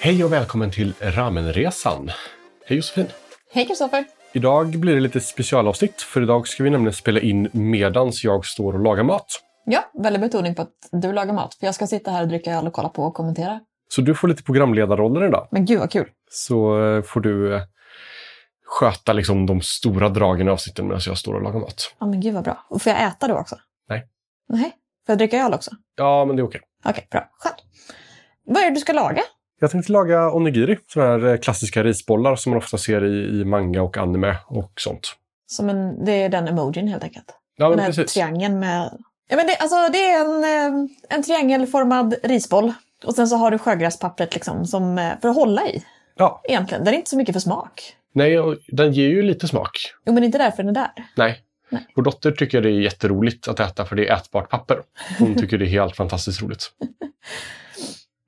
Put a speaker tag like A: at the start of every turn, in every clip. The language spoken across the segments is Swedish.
A: Hej och välkommen till Ramenresan. Hej Josefin.
B: Hej Kristoffer!
A: Idag blir det lite specialavsnitt för idag ska vi nämligen spela in medans jag står och lagar mat.
B: Ja, väldigt betoning på att du lagar mat. För jag ska sitta här och dricka öl och kolla på och kommentera.
A: Så du får lite programledarrollen idag.
B: Men gud vad kul!
A: Så eh, får du eh, sköta liksom de stora dragen i avsnitten medan jag står och lagar mat.
B: Ja, men gud vad bra. Och får jag äta då också?
A: Nej.
B: Nej, får jag dricka öl också?
A: Ja, men det är okej.
B: Okej, bra. Skönt. Vad är det du ska laga?
A: Jag tänkte laga onigiri, sådana här eh, klassiska risbollar som man ofta ser i, i manga och anime och sånt.
B: Som en, det är den emojin helt enkelt.
A: Ja, men
B: den här
A: precis.
B: triangeln med... Ja, men det, alltså, det är en, eh, en triangelformad risboll. Och sen så har du sjögräspappret liksom som, eh, för att hålla i.
A: Ja.
B: Egentligen. Den är inte så mycket för smak.
A: Nej, och den ger ju lite smak.
B: Jo, men inte därför den är där.
A: Nej.
B: Nej.
A: Vår dotter tycker det är jätteroligt att äta för det är ätbart papper. Hon tycker det är helt fantastiskt roligt.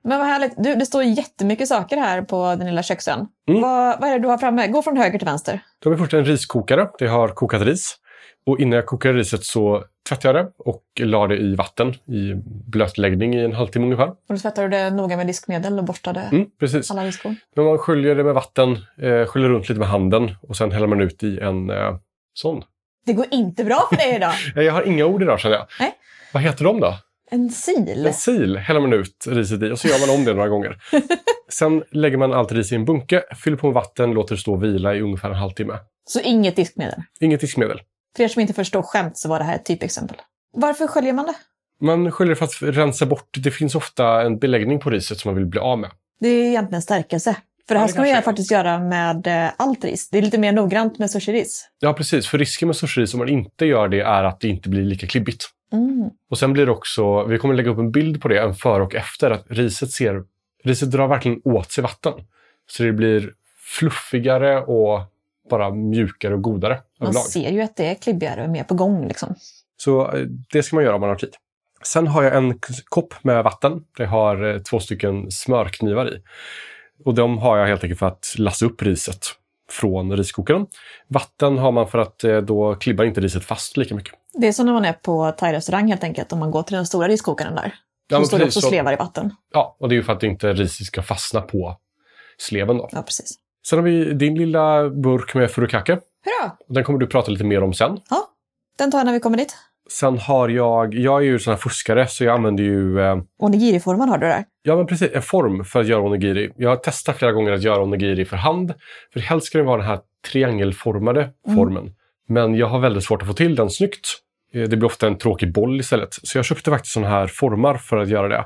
B: Men vad härligt. Du, det står jättemycket saker här på den lilla köksön.
A: Mm.
B: Vad, vad är det du har framme? Gå från höger till vänster.
A: Då har vi först en riskokare. Det har kokat ris. Och innan jag kokade riset så tvättade jag det och la det i vatten i blötläggning i en halvtimme ungefär.
B: Och då tvättar du det noga med diskmedel och borstade
A: Mm, precis.
B: alla riskor.
A: Men man sköljer det med vatten, eh, sköljer runt lite med handen och sen häller man ut i en eh, sån.
B: Det går inte bra för dig idag.
A: Nej, Jag har inga ord idag känner jag.
B: Nej.
A: Vad heter de då?
B: En sil.
A: En sil häller man ut riset i och så gör man om det några gånger. Sen lägger man allt ris i en bunke, fyller på med vatten, låter det stå och vila i ungefär en halvtimme.
B: Så inget diskmedel.
A: Inget diskmedel.
B: För er som inte förstår skämt så var det här ett typexempel. Varför sköljer man det?
A: Man sköljer för att rensa bort, det finns ofta en beläggning på riset som man vill bli av med.
B: Det är egentligen stärkelse. För det här
A: det
B: ska man
A: kanske
B: ju
A: är.
B: faktiskt göra med eh, allt ris. Det är lite mer noggrant med sushiris.
A: Ja, precis. För risken med sushiris om man inte gör det är att det inte blir lika klibbigt.
B: Mm.
A: Och sen blir det också, vi kommer lägga upp en bild på det, en före och efter, att riset ser, riset drar verkligen åt sig vatten. Så det blir fluffigare och bara mjukare och godare
B: Man
A: överlag.
B: ser ju att det är klibbigare och mer på gång. Liksom.
A: Så eh, det ska man göra om man har tid. Sen har jag en k- kopp med vatten. Det har eh, två stycken smörknivar i. Och de har jag helt enkelt för att lassa upp riset från riskokaren. Vatten har man för att eh, då klibbar inte riset fast lika mycket.
B: Det är som när man är på thai-restaurang helt enkelt. Om man går till den stora riskokaren där.
A: Ja,
B: Som
A: men
B: står det
A: precis,
B: också
A: så-
B: och slevar i vatten.
A: Ja, och det är ju för att inte riset ska fastna på sleven. Då.
B: Ja, precis.
A: Sen har vi din lilla burk med furikake.
B: Hurra!
A: Den kommer du prata lite mer om sen.
B: Ja, den tar jag när vi kommer dit.
A: Sen har jag, jag är ju sån här fuskare så jag använder ju eh,
B: Onigiri-formen har du där.
A: Ja, men precis. En form för att göra onigiri. Jag har testat flera gånger att göra onigiri för hand. För helst ska det vara den här triangelformade formen. Men jag har väldigt svårt att få till den snyggt. Eh, Det blir ofta en tråkig boll istället. Så jag köpte faktiskt sådana här formar för att göra det.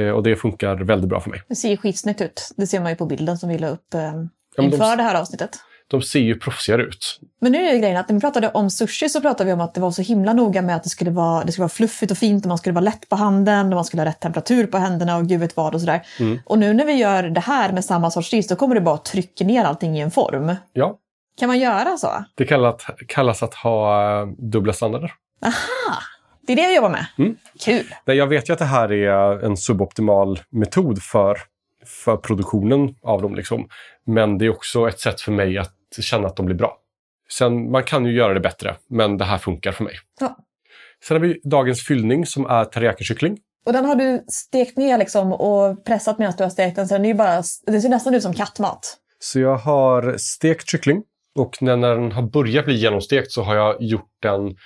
A: Eh, Och det funkar väldigt bra för mig.
B: Det ser ju skitsnyggt ut. Det ser man ju på bilden som vi la upp eh,
A: de-
B: inför det här avsnittet.
A: De ser ju proffsigare ut.
B: Men nu är ju grejen att när vi pratade om sushi så pratade vi om att det var så himla noga med att det skulle vara, det skulle vara fluffigt och fint och man skulle vara lätt på handen och man skulle ha rätt temperatur på händerna och gud vet vad och sådär.
A: Mm.
B: Och nu när vi gör det här med samma sorts ris då kommer det bara att trycka ner allting i en form.
A: Ja,
B: Kan man göra så?
A: det kallat, kallas att ha eh, dubbla standarder.
B: Det är det vi jobbar med.
A: Mm.
B: Kul!
A: Nej, jag vet ju att det här är en suboptimal metod för, för produktionen av dem. Liksom. Men det är också ett sätt för mig att känna att de blir bra. Sen, man kan ju göra det bättre, men det här funkar för mig.
B: Ja.
A: Sen har vi dagens fyllning som är teriyaki-kyckling.
B: Och den har du stekt ner liksom och pressat medan du har stekt den så den är ju bara, det ser nästan ut som kattmat.
A: Så jag har stekt kyckling och när, när den har börjat bli genomstekt så har jag gjort den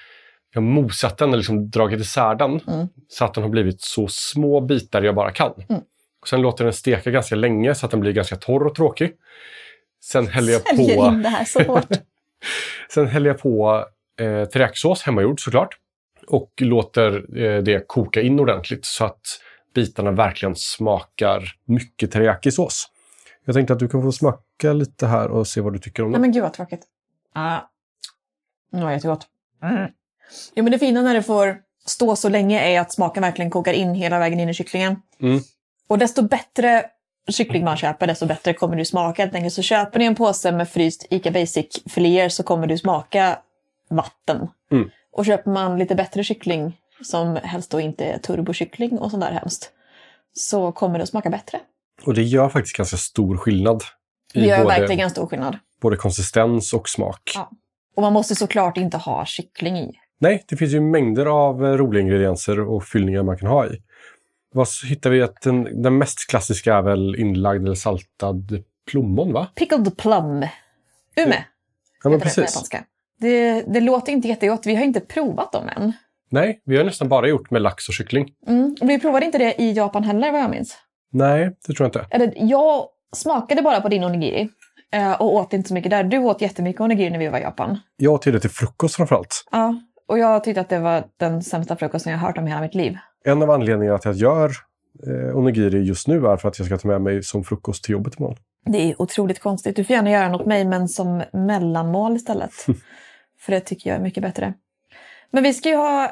A: jag har mosat den, eller liksom dragit isär den
B: Mm.
A: så att den har blivit så små bitar jag bara kan.
B: Mm.
A: Och sen låter jag den steka ganska länge så att den blir ganska torr och tråkig. Sen häller jag
B: Säljer
A: på,
B: in det här så hårt.
A: sen häller jag på eh, teriyakisås, hemmagjord såklart. Och låter eh, det koka in ordentligt så att bitarna verkligen smakar mycket teriyakisås. Jag tänkte att du kan få smaka lite här och se vad du tycker om
B: Nej
A: det.
B: men gud vad tråkigt. Ah. Det var jättegott. Mm. Ja, men det fina när det får stå så länge är att smaken verkligen kokar in hela vägen in i kycklingen.
A: Mm.
B: Och desto bättre kyckling man köper, desto bättre kommer du smaka. helt enkelt. Så köper ni en påse med fryst ICA Basic-filéer så kommer du smaka vatten.
A: Mm.
B: Och köper man lite bättre kyckling, som helst då inte är turbokyckling och sånt där hemskt, så kommer det att smaka bättre.
A: Och det gör faktiskt ganska stor skillnad
B: Det
A: i
B: gör
A: både,
B: verkligen stor skillnad.
A: både konsistens och smak.
B: Ja. Och man måste såklart inte ha kyckling i.
A: Nej, det finns ju mängder av eh, roliga ingredienser och fyllningar man kan ha i. Vad s- hittar vi att den, den mest klassiska är väl inlagd eller saltad plommon, va?
B: Pickled plum. Ume,
A: Ja, men
B: heter det på
A: precis.
B: japanska. Det, det låter inte jättegott. Vi har inte provat dem än.
A: Nej, vi har nästan bara gjort med lax och kyckling.
B: Mm. Vi provade inte det i Japan heller vad jag minns.
A: Nej, det tror jag inte.
B: Eller, jag smakade bara på din onigiri eh, och åt inte så mycket där. Du åt jättemycket onigiri när vi var i Japan.
A: Jag åt ju det till frukost framförallt.
B: Ja, och jag tyckte att det var den sämsta frukosten jag hört om i hela mitt liv.
A: En av anledningarna till att jag gör eh, onigiri just nu är för att jag ska ta med mig som frukost till jobbet imorgon.
B: Det är otroligt konstigt. Du får gärna göra något mig, men som mellanmål istället. För det tycker jag är mycket bättre. Men vi ska ju ha,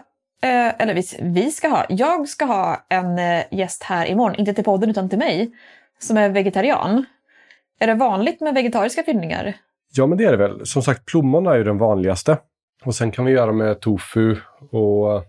B: eh, eller vi, vi ska ha, jag ska ha en eh, gäst här imorgon, inte till podden utan till mig, som är vegetarian. Är det vanligt med vegetariska fyllningar?
A: Ja, men det är det väl. Som sagt, plommon är ju den vanligaste. Och sen kan vi göra med tofu och...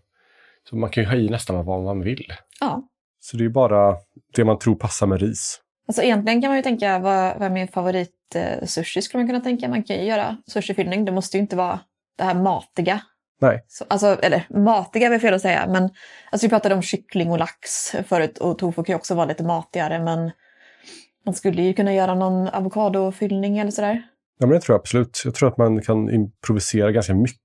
A: Så man kan ju ha i nästan vad man vill.
B: Ja.
A: Så det är ju bara det man tror passar med ris.
B: Alltså egentligen kan man ju tänka, vad, vad är min favorit eh, sushi skulle man kunna tänka. Man kan ju göra sushifyllning, det måste ju inte vara det här matiga.
A: Nej.
B: Så, alltså, eller matiga är fel att säga, men alltså, vi pratade om kyckling och lax förut och tofu kan ju också vara lite matigare men man skulle ju kunna göra någon avokadofyllning eller sådär.
A: Ja, men det tror jag absolut. Jag tror att man kan improvisera ganska mycket.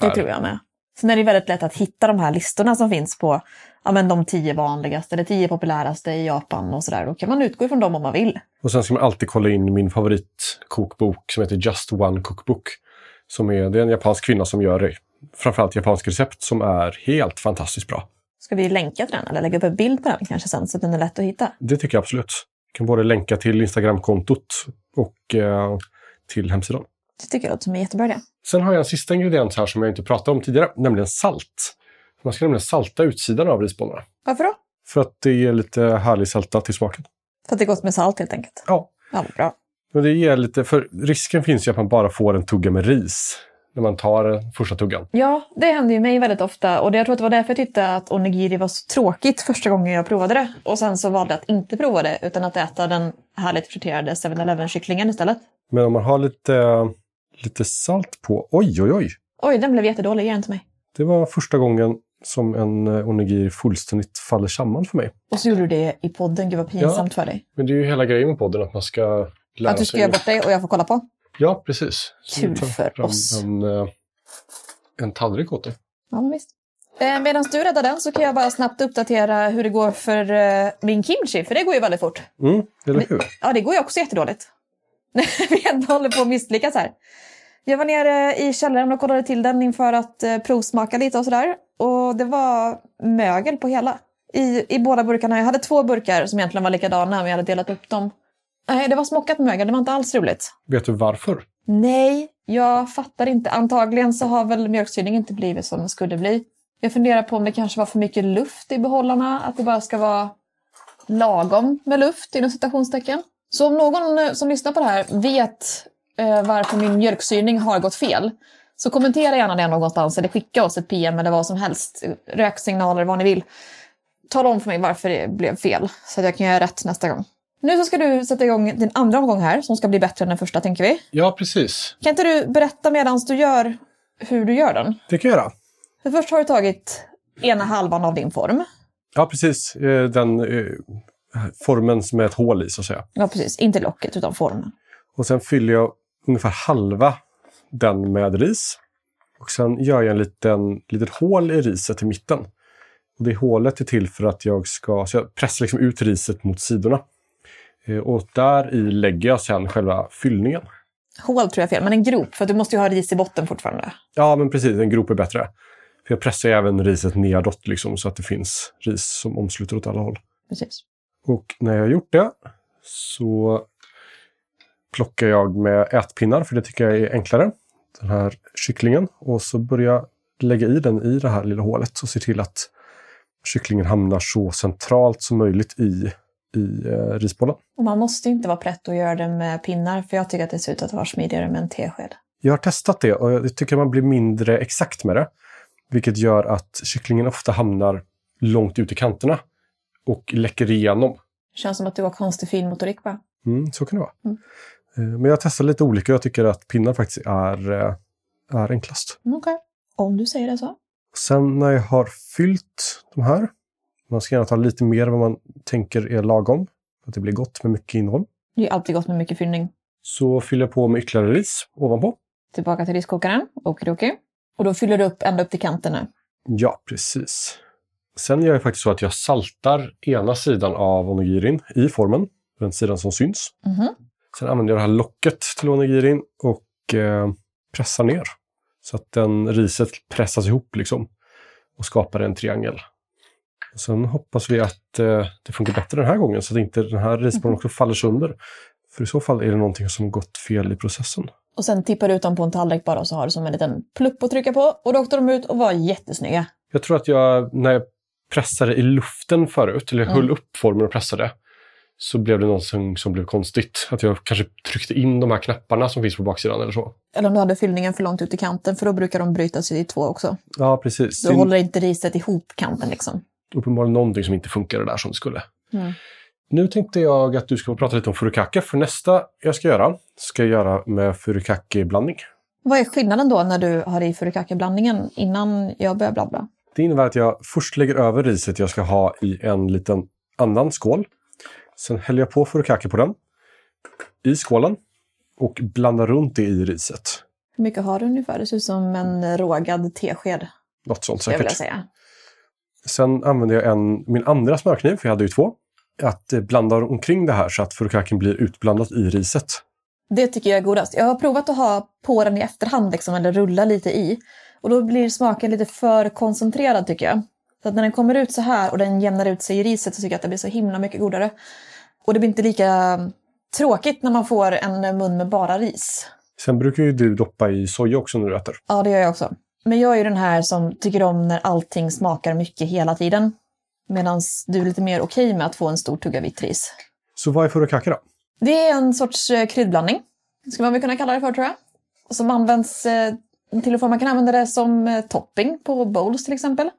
B: Det
A: Här.
B: tror jag med. Sen är det väldigt lätt att hitta de här listorna som finns på ja, men de tio vanligaste eller tio populäraste i Japan och sådär. Då kan man utgå ifrån dem om man vill.
A: Och sen ska man alltid kolla in min favoritkokbok som heter Just One Cookbook. Som är, det är en japansk kvinna som gör det. Framförallt japanska recept som är helt fantastiskt bra.
B: Ska vi länka till den eller lägga upp en bild på den kanske sen så att den är lätt att hitta?
A: Det tycker jag absolut. Jag kan både länka till Instagramkontot och eh, till hemsidan.
B: Det tycker jag låter som en jättebra idé.
A: Sen har jag en sista ingrediens här som jag inte pratade om tidigare, nämligen salt. Man ska nämligen salta utsidan av risbollarna.
B: Varför då?
A: För att det ger lite härlig sälta till smaken.
B: För att det är gott med salt helt enkelt.
A: Ja,
B: Ja, vad bra.
A: Men det ger lite, för risken finns ju att man bara får en tugga med ris när man tar den första tuggan.
B: Ja, det händer ju mig väldigt ofta och det- jag tror att det var därför jag tyckte att onigiri var så tråkigt första gången jag provade det. Och sen så valde jag att inte prova det utan att äta den härligt friterade 7-Eleven-kycklingen istället.
A: Men om man har lite, lite salt på, oj oj oj,
B: Oj, den blev jättedålig. Ge den till mig.
A: det var första gången som en eh, onigiri fullständigt faller samman för mig.
B: Och så gjorde du det i podden. Gud vad pinsamt för dig.
A: Men det är ju hela grejen med podden, att man ska lära
B: Att du
A: sig.
B: ska göra bort dig och jag får kolla på.
A: Ja, precis. Så
B: Kul
A: vi tar
B: för
A: fram
B: oss.
A: En, eh, en tallrik åt dig.
B: Ja, men visst. Eh, Medan du räddar den så kan jag bara snabbt uppdatera hur det går för eh, min kimchi, för det går ju väldigt fort.
A: Mm, eller
B: Men-
A: hur?
B: Ja, det går ju också jättedåligt. När vi ändå håller på att misslyckas här. Jag var nere i källaren och kollade till den inför att eh, provsmaka lite och sådär. Och det var mögel på hela. I, I båda burkarna. Jag hade två burkar som egentligen var likadana men jag hade delat upp dem. Nej, det var smockat mögel. Det var inte alls roligt.
A: Vet du varför?
B: Nej, jag fattar inte. Antagligen så har väl mjölksyrning inte blivit som den skulle bli. Jag funderar på om det kanske var för mycket luft i behållarna, att det bara ska vara lagom med luft inom citationstecken. Så om någon eh, som lyssnar på det här vet eh, varför min mjölksyrning har gått fel så kommentera gärna det någonstans eller skicka oss ett PM eller vad som helst. Röksignaler, vad ni vill. Tala om för mig varför det blev fel så att jag kan göra rätt nästa gång. Nu så ska du sätta igång din andra omgång här som ska bli bättre än den första tänker vi.
A: Ja, precis.
B: Kan inte du berätta medan du gör hur du gör den?
A: Det kan jag göra.
B: För först har du tagit ena halvan av din form.
A: Ja, precis. Eh, Den eh, formen som är ett hål i, så att säga.
B: Ja, precis. Inte locket, utan formen.
A: Och sen fyller jag ungefär halva den med ris. Och sen gör jag en liten, litet hål i riset i mitten. Och det hålet är till för att jag ska... Så jag pressar liksom ut riset mot sidorna. Eh, Och där i lägger jag sen själva fyllningen.
B: Hål tror jag är fel, men en grop. För att du måste ju ha ris i botten fortfarande.
A: Ja, men precis. En grop är bättre. För jag pressar ju även riset nedåt liksom, så att det finns ris som omsluter åt alla håll.
B: Precis.
A: Och när jag har gjort det så plockar jag med ätpinnar, för det tycker jag är enklare. Den här kycklingen. Och så börjar jag lägga i den i det här lilla hålet och se till att kycklingen hamnar så centralt som möjligt i, i eh, risbollen.
B: Och man måste ju inte vara prätt och göra det med pinnar, för jag tycker att det ser ut att vara smidigare med en tesked.
A: Jag har testat det och jag tycker man blir mindre exakt med det. Vilket gör att kycklingen ofta hamnar långt ut i kanterna och läcker igenom.
B: Det känns som att du har konstig finmotorik bara.
A: Mm, så kan det vara. Eh, Men jag testar lite olika och jag tycker att pinnar faktiskt är, eh, är enklast.
B: Mm, Okej. Om du säger det så.
A: Sen när jag har fyllt de här, man ska gärna ta lite mer än vad man tänker är lagom, för att det blir gott med mycket innehåll.
B: Det är alltid gott med mycket fyllning.
A: Så fyller jag på med ytterligare ris ovanpå.
B: Tillbaka till riskokaren, okidoki. Och då fyller du upp ända upp till kanterna.
A: Ja, precis. Sen gör jag faktiskt så att jag saltar ena sidan av onegirin i formen, den sidan som syns.
B: Mhm.
A: Sen använder jag det här locket till onegirin och eh, pressar ner. Så att den, riset pressas ihop liksom och skapar en triangel. Och sen hoppas vi att eh, det funkar bättre den här gången så att inte den här risbollen också faller sönder. För i så fall är det någonting som gått fel i processen.
B: Och sen tippar du ut dem på en tallrik bara och så har du som en liten plupp att trycka på. Och då åkte de ut och var jättesnygga.
A: Jag tror att jag, när jag pressade i luften förut, eller jag
B: Mm.
A: höll upp formen och pressade, så blev det någonting som blev konstigt. Att jag kanske tryckte in de här knapparna som finns på baksidan eller så.
B: Eller om du hade fyllningen för långt ut i kanten, för då brukar de brytas i två också.
A: Ja, precis.
B: Så
A: Det är
B: håller inte riset ihop kanten liksom.
A: uppenbarligen någonting som inte funkade där som det skulle.
B: Mm.
A: Nu tänkte jag att du ska få prata lite om furikake, för nästa jag ska göra ska jag göra med furikake-blandning.
B: Vad är skillnaden då när du har i furikake-blandningen innan jag börjar blabbla?
A: Det innebär att jag först lägger över riset jag ska ha i en liten annan skål. Sen häller jag på furikake på den, i skålen, och blandar runt det i riset.
B: Hur mycket har du ungefär? Det ser ut som en rågad tesked,
A: Något sånt
B: skulle jag vilja
A: säkert.
B: säga.
A: Sen använde jag en, min andra smörkniv, för jag hade ju två, att eh, blanda omkring det här så att furikaken blir utblandat i riset.
B: Det tycker jag är godast. Jag har provat att ha på den i efterhand, liksom, eller rulla lite i. Och då blir smaken lite för koncentrerad tycker jag. Så att när den kommer ut så här och den jämnar ut sig i riset så tycker jag att det blir så himla mycket godare. Och det blir inte lika mm, tråkigt när man får en mun med bara ris.
A: Sen brukar ju du doppa i soja också när du äter.
B: Ja, det gör jag också. Men jag är ju den här som tycker om när allting smakar mycket hela tiden. Medan du är lite mer okej med att få en stor tugga vitt ris.
A: Så vad är furikake då?
B: Det är en sorts eh, kryddblandning, skulle man väl kunna kalla det för tror jag. Som används eh, till och från. Man kan använda det som eh, topping på bowls till exempel.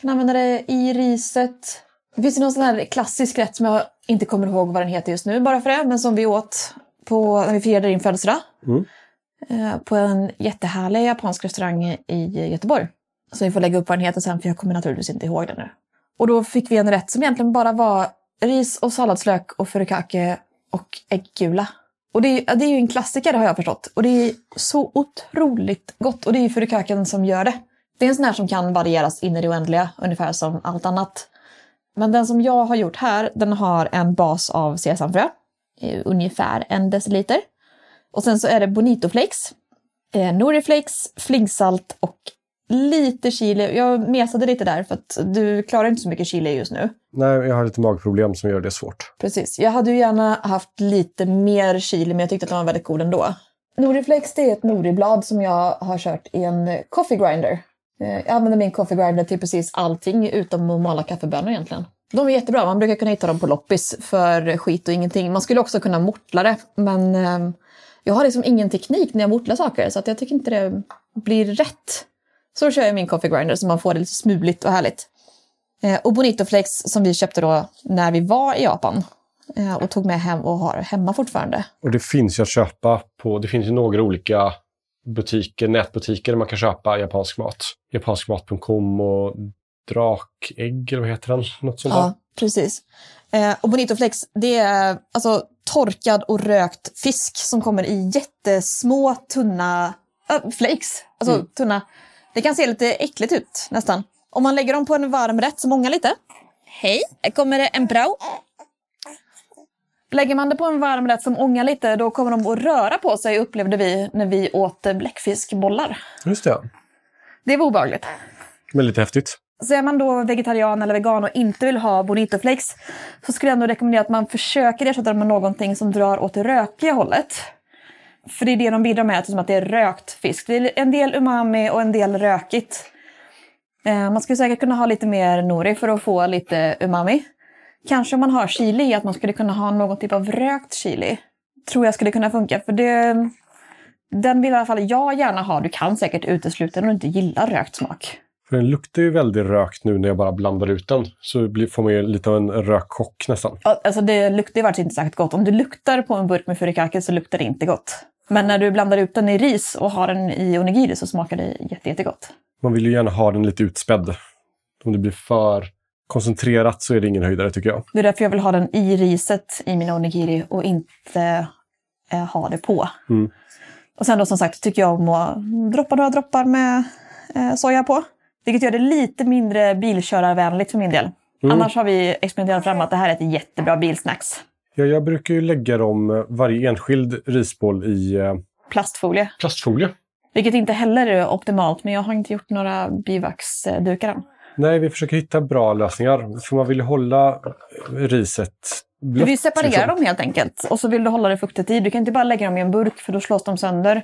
B: kan använda det i riset. Det finns ju någon sån här klassisk rätt som jag inte kommer ihåg vad den heter just nu bara för det, men som vi åt på, när vi firade din födelsedag.
A: Mm.
B: Eh, På en jättehärlig japansk restaurang i Göteborg. Så vi får lägga upp vad den heter sen för jag kommer naturligtvis inte ihåg den nu. Och då fick vi en rätt som egentligen bara var ris och salladslök och furikake och äggula. Och det är, ja, det är ju en klassiker har jag förstått. Och det är så otroligt gott. Och det är ju furikaken som gör det. Det är en sån här som kan varieras in i det oändliga, ungefär som allt annat. Men den som jag har gjort här, den har en bas av sesamfrö. eh, Ungefär en deciliter. Och sen så är det bonito flakes, eh, nori flakes, flingsalt och lite chili. Jag mesade lite där för att du klarar inte så mycket chili just nu.
A: Nej, jag har lite magproblem som gör det svårt.
B: Precis. Jag hade ju gärna haft lite mer chili, men jag tyckte att den var väldigt god ändå. Noriflex det är ett noriblad som jag har kört i en coffee grinder. Eh, Jag använder min coffee grinder till precis allting utom att mala kaffebönor egentligen. De är jättebra, man brukar kunna hitta dem på loppis för skit och ingenting. Man skulle också kunna mortla det, men eh, jag har liksom ingen teknik när jag mortlar saker så att jag tycker inte det blir rätt. Så då kör jag min coffee grinder så man får det lite smuligt och härligt. Eh, Och Bonito Flakes som vi köpte då när vi var i Japan eh, och tog med hem och har hemma fortfarande.
A: Och det finns ju att köpa på, det finns ju några olika butiker, nätbutiker där man kan köpa japansk mat. Japanskmat.com och drakägg, eller vad heter den? Något sånt där.
B: Ja, precis. Eh, och Bonito Flex, det är alltså torkad och rökt fisk som kommer i jättesmå tunna äh, flakes. Alltså
A: Mm.
B: tunna. Det kan se lite äckligt ut nästan. Om man lägger dem på en varm rätt, så många lite. Hej, här kommer det en prao. Lägger man det på en varm rätt som ångar lite, då kommer de att röra på sig upplevde vi när vi åt eh, bläckfiskbollar.
A: Just det.
B: Det var obehagligt.
A: Men lite häftigt.
B: Så är man då vegetarian eller vegan och inte vill ha bonito flakes så skulle jag ändå rekommendera att man försöker ersätta dem med någonting som drar åt det rökiga hållet. För det är det de bidrar med, eftersom att det är rökt fisk. Det är en del umami och en del rökigt. Eh, Man skulle säkert kunna ha lite mer nori för att få lite umami. Kanske om man har chili, att man skulle kunna ha någon typ av rökt chili. Tror jag skulle kunna funka, för det... Den vill i alla fall jag gärna ha. Du kan säkert utesluta den om du inte gillar rökt smak.
A: För den luktar ju väldigt rökt nu när jag bara blandar ut den. Så blir- får man ju lite av en rökchock nästan.
B: Ja, Alltså det luktar ju faktiskt inte särskilt gott. Om du luktar på en burk med furikake så luktar det inte gott. Men när du blandar ut den i ris och har den i onigiri så smakar det jätte, jättegott.
A: Man vill ju gärna ha den lite utspädd. Om det blir för koncentrerat så är det ingen höjdare tycker jag.
B: Det är därför jag vill ha den i riset i mina onigiri och inte eh, ha det på.
A: Mm.
B: Och sen då som sagt tycker jag om att droppa några droppar med eh, soja på. Vilket gör det lite mindre bilkörarvänligt för min del. Annars har vi experimenterat fram att det här är ett jättebra bilsnacks.
A: Ja, jag brukar ju lägga dem, eh, varje enskild risboll i eh,
B: Plastfolie.
A: plastfolie.
B: Vilket inte heller är optimalt, men jag har inte gjort några bivaxdukar än.
A: Nej, vi försöker hitta bra lösningar. För man vill ju hålla eh, riset
B: Du
A: blött.
B: vill separera
A: liksom.
B: dem helt enkelt. Och så vill du hålla det fuktigt i. Du kan inte bara lägga dem i en burk för då slås de sönder.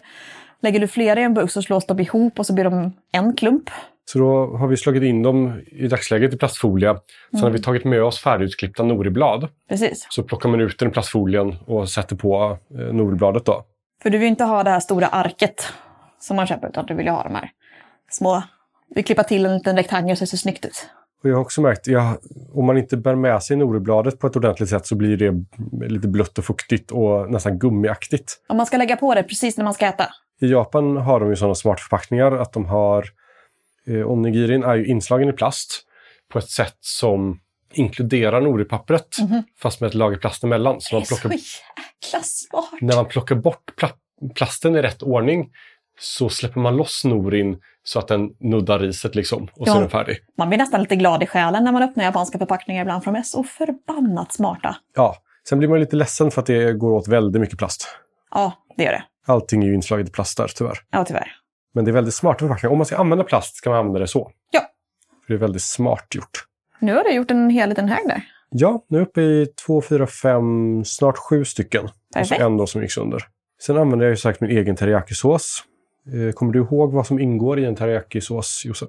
B: Lägger du flera i en burk så slås de ihop och så blir de en klump.
A: Så då har vi slagit in dem i dagsläget i plastfolie. Sen har
B: Mm.
A: vi tagit med oss färdigklippta noriblad.
B: Precis.
A: Så plockar man ut den i plastfolien och sätter på eh, noribladet då.
B: För du vill ju inte ha det här stora arket som man köper utan du vill ju ha de här små. Vi klippa till en liten rektangel så det ser snyggt ut.
A: Och jag har också märkt, jag, om man inte bär med sig noribladet på ett ordentligt sätt så blir det mm, lite blött och fuktigt och nästan gummiaktigt.
B: Om man ska lägga på det precis när man ska äta.
A: I Japan har de ju sådana smarta förpackningar att de har... Eh, onigirin är ju inslagen i plast på ett sätt som inkluderar noripappret
B: Mhm.
A: fast med ett lager plast emellan. Så man
B: det är så
A: plockar,
B: jäkla smart!
A: när man plockar bort pla- plasten i rätt ordning så släpper man loss norin så att den nuddar riset liksom och så
B: Ja.
A: är den färdig.
B: Man blir nästan lite glad i själen när man öppnar japanska förpackningar ibland för de är så förbannat smarta.
A: Ja, sen blir man ju lite ledsen för att det går åt väldigt mycket plast.
B: Ja, det gör det.
A: Allting är ju inslaget i plast där tyvärr.
B: Ja, tyvärr.
A: Men det är väldigt smarta förpackningar. Om man ska använda plast ska man använda det så.
B: Ja.
A: För det är väldigt smart gjort.
B: Nu har du gjort en hel liten hög där.
A: Ja, nu är jag uppe i två, fyra, fem, snart sju stycken. Och så
B: Perfekt.
A: en då som gick sönder. Sen använder jag ju sagt min egen teriyakisås. Eh, Kommer du ihåg vad som ingår i en teriyakisås, Josef?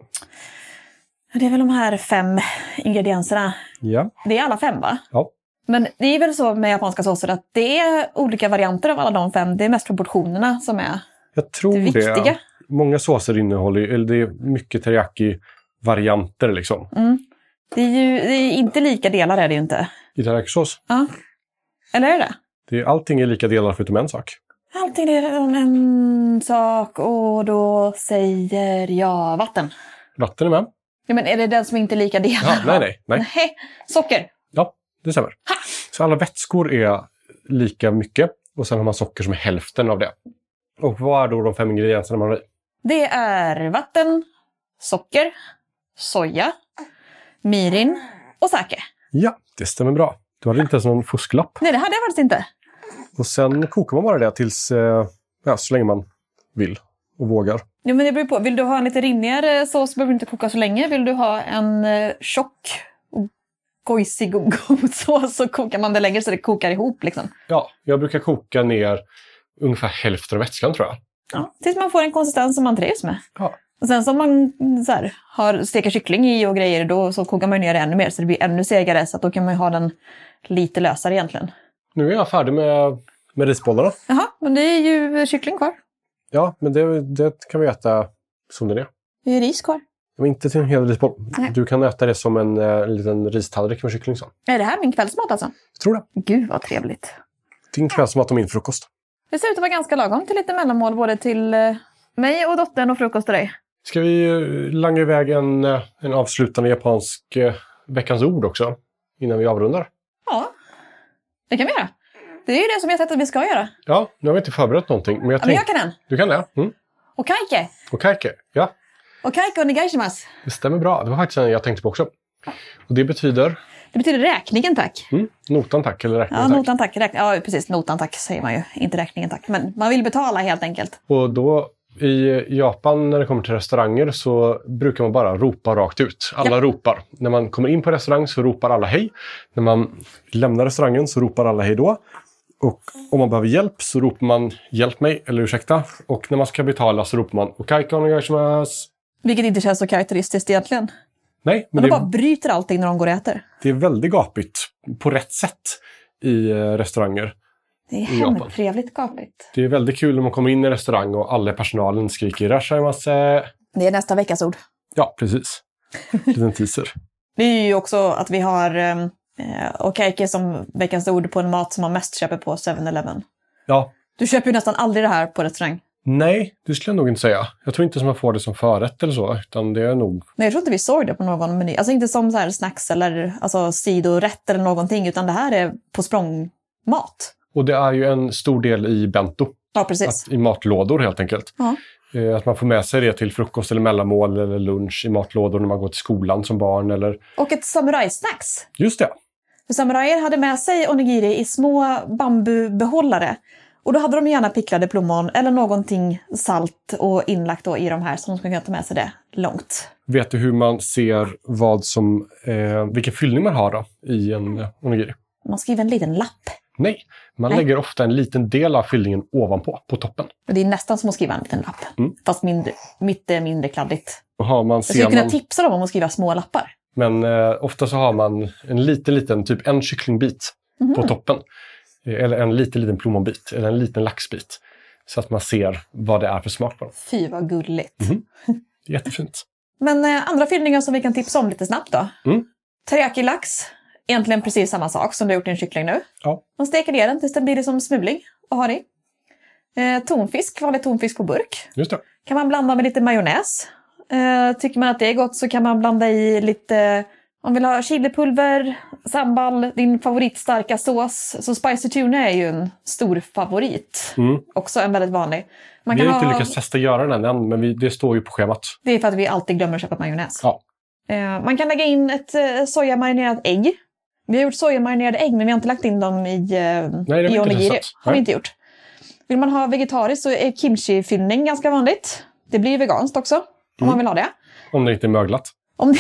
B: Det är väl de här fem ingredienserna.
A: Ja.
B: Det är alla fem va?
A: ja.
B: Men det är väl så med japanska såser att det är olika varianter av alla de fem. Det är mest proportionerna som är
A: Jag tror
B: det
A: Oh, det.
B: viktiga.
A: Många såser innehåller ju- eller det är mycket teriyaki-varianter liksom.
B: Mm. Det är ju det är inte lika delar är det ju inte.
A: I teriyakisås,
B: Ja. Eller är det
A: det är, allting är lika delar förutom en sak.
B: Allting är redan en sak och då säger jag vatten.
A: Vatten är med.
B: Ja, men är det den som inte är lika delar?
A: Ja, nej, nej, nej.
B: nej. Socker.
A: Ja, det stämmer. Så alla vätskor är lika mycket och sen har man socker som är hälften av det. Och vad är då de fem ingredienserna man har i?
B: Det är vatten, socker, soja, mirin och sake.
A: Ja, det stämmer bra. Du hade inte ens någon fusklapp.
B: Nej, det hade jag faktiskt inte.
A: Och sen kokar man bara det tills, eh, ja, så länge man vill och vågar.
B: Jo, men det beror på. Vill du ha en lite rinnigare sås behöver du inte koka så länge. Vill du ha en eh, tjock och gojsig och god sås så kokar man det längre så det kokar ihop. Liksom.
A: Ja, jag brukar koka ner ungefär hälften av vätskan tror jag.
B: Ja. Tills man får en konsistens som man trivs med.
A: Ja.
B: Och sen som man så här, har steker kyckling i och grejer, då så kokar man ju ner det ännu mer så det blir ännu segare. Så att då kan man ju ha den lite lösare egentligen.
A: Nu är jag färdig med, med risbollarna.
B: Jaha, men det är ju kyckling kvar.
A: Ja, men det, det kan vi äta som den är.
B: Det är ju ris kvar.
A: Men inte till en hel risboll.
B: Nej.
A: Du kan äta det som en, eh, en liten ristallrik med kyckling. Så.
B: Är det här min kvällsmat alltså?
A: Jag tror det.
B: Gud vad trevligt.
A: Din kvällsmat och min frukost.
B: Det ser ut att vara ganska lagom till lite mellanmål både till eh, mig och dottern och frukost till dig.
A: Ska vi eh, langa iväg en, eh, en avslutande japansk eh, veckans ord också? Innan vi avrundar.
B: Ja, det kan vi göra. Det är ju det som jag har sett att vi ska göra.
A: Ja, nu har vi inte förberett någonting. Men jag
B: Ja, men
A: tänkte...
B: jag kan en.
A: Du kan det? Mm.
B: Okaike.
A: Och kaike. Ja,
B: Okaike och negaishimas.
A: det stämmer bra. Det var faktiskt en jag tänkte på också. Och det betyder
B: Det betyder räkningen tack.
A: mm, notan tack eller
B: Ja,
A: räkningen tack.
B: notan tack. Räkn- ja, precis. Notan tack säger man ju. Inte räkningen tack. Men man vill betala helt enkelt.
A: Och då i Japan när det kommer till restauranger så brukar man bara ropa rakt ut. Alla ropar. När man kommer in på en restaurang så ropar alla hej. När man lämnar restaurangen så ropar alla hej då. Och om man behöver hjälp så ropar man hjälp mig eller ursäkta. Och när man ska betala så ropar man okaika onegaishimasu.
B: Vilket inte känns så karaktäristiskt egentligen.
A: Nej, men
B: Men de bara
A: det,
B: bryter allting när de går och äter.
A: det är väldigt gapigt på rätt sätt i eh, restauranger.
B: Det är
A: I Japan.
B: hemtrevligt gapigt.
A: Det är väldigt kul när man kommer in i en restaurang och alla i personalen skriker "Irashaimase."
B: Det är nästa veckas ord.
A: Ja, precis. Liten teaser.
B: Det är ju också att vi har eh, okeike som veckans ord på en mat som man mest köper på 7-Eleven.
A: Ja,
B: Du köper ju nästan aldrig det här på restaurang.
A: nej, det skulle jag nog inte säga. Jag tror inte som jag får det som förrätt eller så, utan det är nog...
B: Nej, jag tror inte vi såg det på någon meny. Alltså inte som så här snacks eller alltså, sidorätt eller någonting, utan det här är på språngmat.
A: Och det är ju en stor del i bento,
B: Ja, precis.
A: att, i matlådor helt enkelt.
B: Ja.
A: Eh, Att man får med sig det till frukost eller mellanmål eller lunch i matlådor när man går till skolan som barn eller...
B: Och ett samurajsnacks.
A: Just det,
B: För samurajer hade med sig onigiri i små bambubehållare. Och då hade de gärna picklade plommon eller någonting salt och inlagt då i de här så de skulle kunna ta med sig det långt.
A: Vet du hur man ser vad som, eh, vilken fyllning man har då, i en eh, onigiri?
B: Man skriver en liten lapp.
A: Nej, man
B: Nej.
A: lägger ofta en liten del av fyllningen ovanpå, på toppen.
B: Och det är nästan som att skriva en liten lapp.
A: Mm.
B: Fast mindre, mitt är mindre kladdigt.
A: Och har man,
B: Jag skulle
A: ser
B: kunna
A: man,
B: tipsa dem om att skriva små lappar.
A: men eh, ofta så har man en liten, liten, typ en kycklingbit
B: Mhm.
A: på toppen. Eh, Eller en liten, liten plommonbit, eller en liten laxbit. Så att man ser vad det är för smak på dem.
B: Fy vad gulligt.
A: Det är Jättefint.
B: Men eh, andra fyllningar som vi kan tipsa om lite snabbt då.
A: Mm.
B: Teriyaki-lax. Egentligen precis samma sak som du har gjort i en kyckling nu.
A: Ja.
B: Man steker ner den tills den blir som smuling och har i. Eh, tonfisk, vanlig tonfisk på burk.
A: Just det.
B: Kan man blanda med lite majonnäs. Eh, tycker man att det är gott så kan man blanda i lite, om man vill ha chilipulver, sambal, din favoritstarka sås. Så spicy tuna är ju en stor favorit.
A: Mm.
B: Också en väldigt vanlig. Man
A: Vi
B: kan
A: har inte
B: ha-
A: lyckats testa göra den än, men vi, det står ju på schemat.
B: det är för att vi alltid glömmer att köpa majonnäs.
A: Ja.
B: Eh, man kan lägga in ett eh, sojamarinerat ägg. Vi har gjort sojamarinerade ägg, men vi har inte lagt in dem i, eh,
A: har vi
B: i
A: inte
B: onigiri.
A: testat.
B: har vi
A: Nej.
B: inte gjort. Vill man ha vegetariskt så är kimchi-fyllning ganska vanligt. Det blir ju veganskt också, om
A: Mm.
B: man vill ha det.
A: Om det inte är möglat.
B: Om det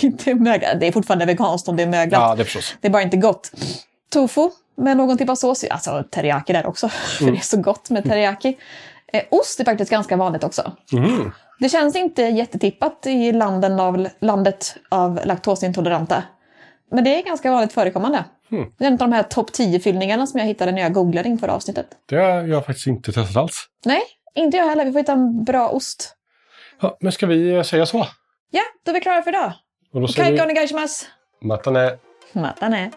B: inte är möglat. Det är fortfarande veganskt om det är möglat.
A: Ja, det förstås.
B: Det är bara inte gott. Tofu med någon typ av sås. Alltså teriyaki där också, för
A: Mm.
B: det är så gott med teriyaki. Eh, ost är faktiskt ganska vanligt också.
A: Mhm.
B: Det känns inte jättetippat i landen av, landet av laktosintoleranta. Men det är ganska vanligt förekommande.
A: Mm.
B: Det är en av de här topp 10-fyllningarna som jag hittade när jag googlade inför avsnittet.
A: Det har jag faktiskt inte testat alls.
B: Nej, inte jag heller. Vi får hitta en bra ost.
A: Ja, men ska vi eh, säga så?
B: Ja, då är vi klara för idag.
A: Och då säger
B: Kaikon
A: vi
B: och gaishimas!
A: matane.
B: Matane!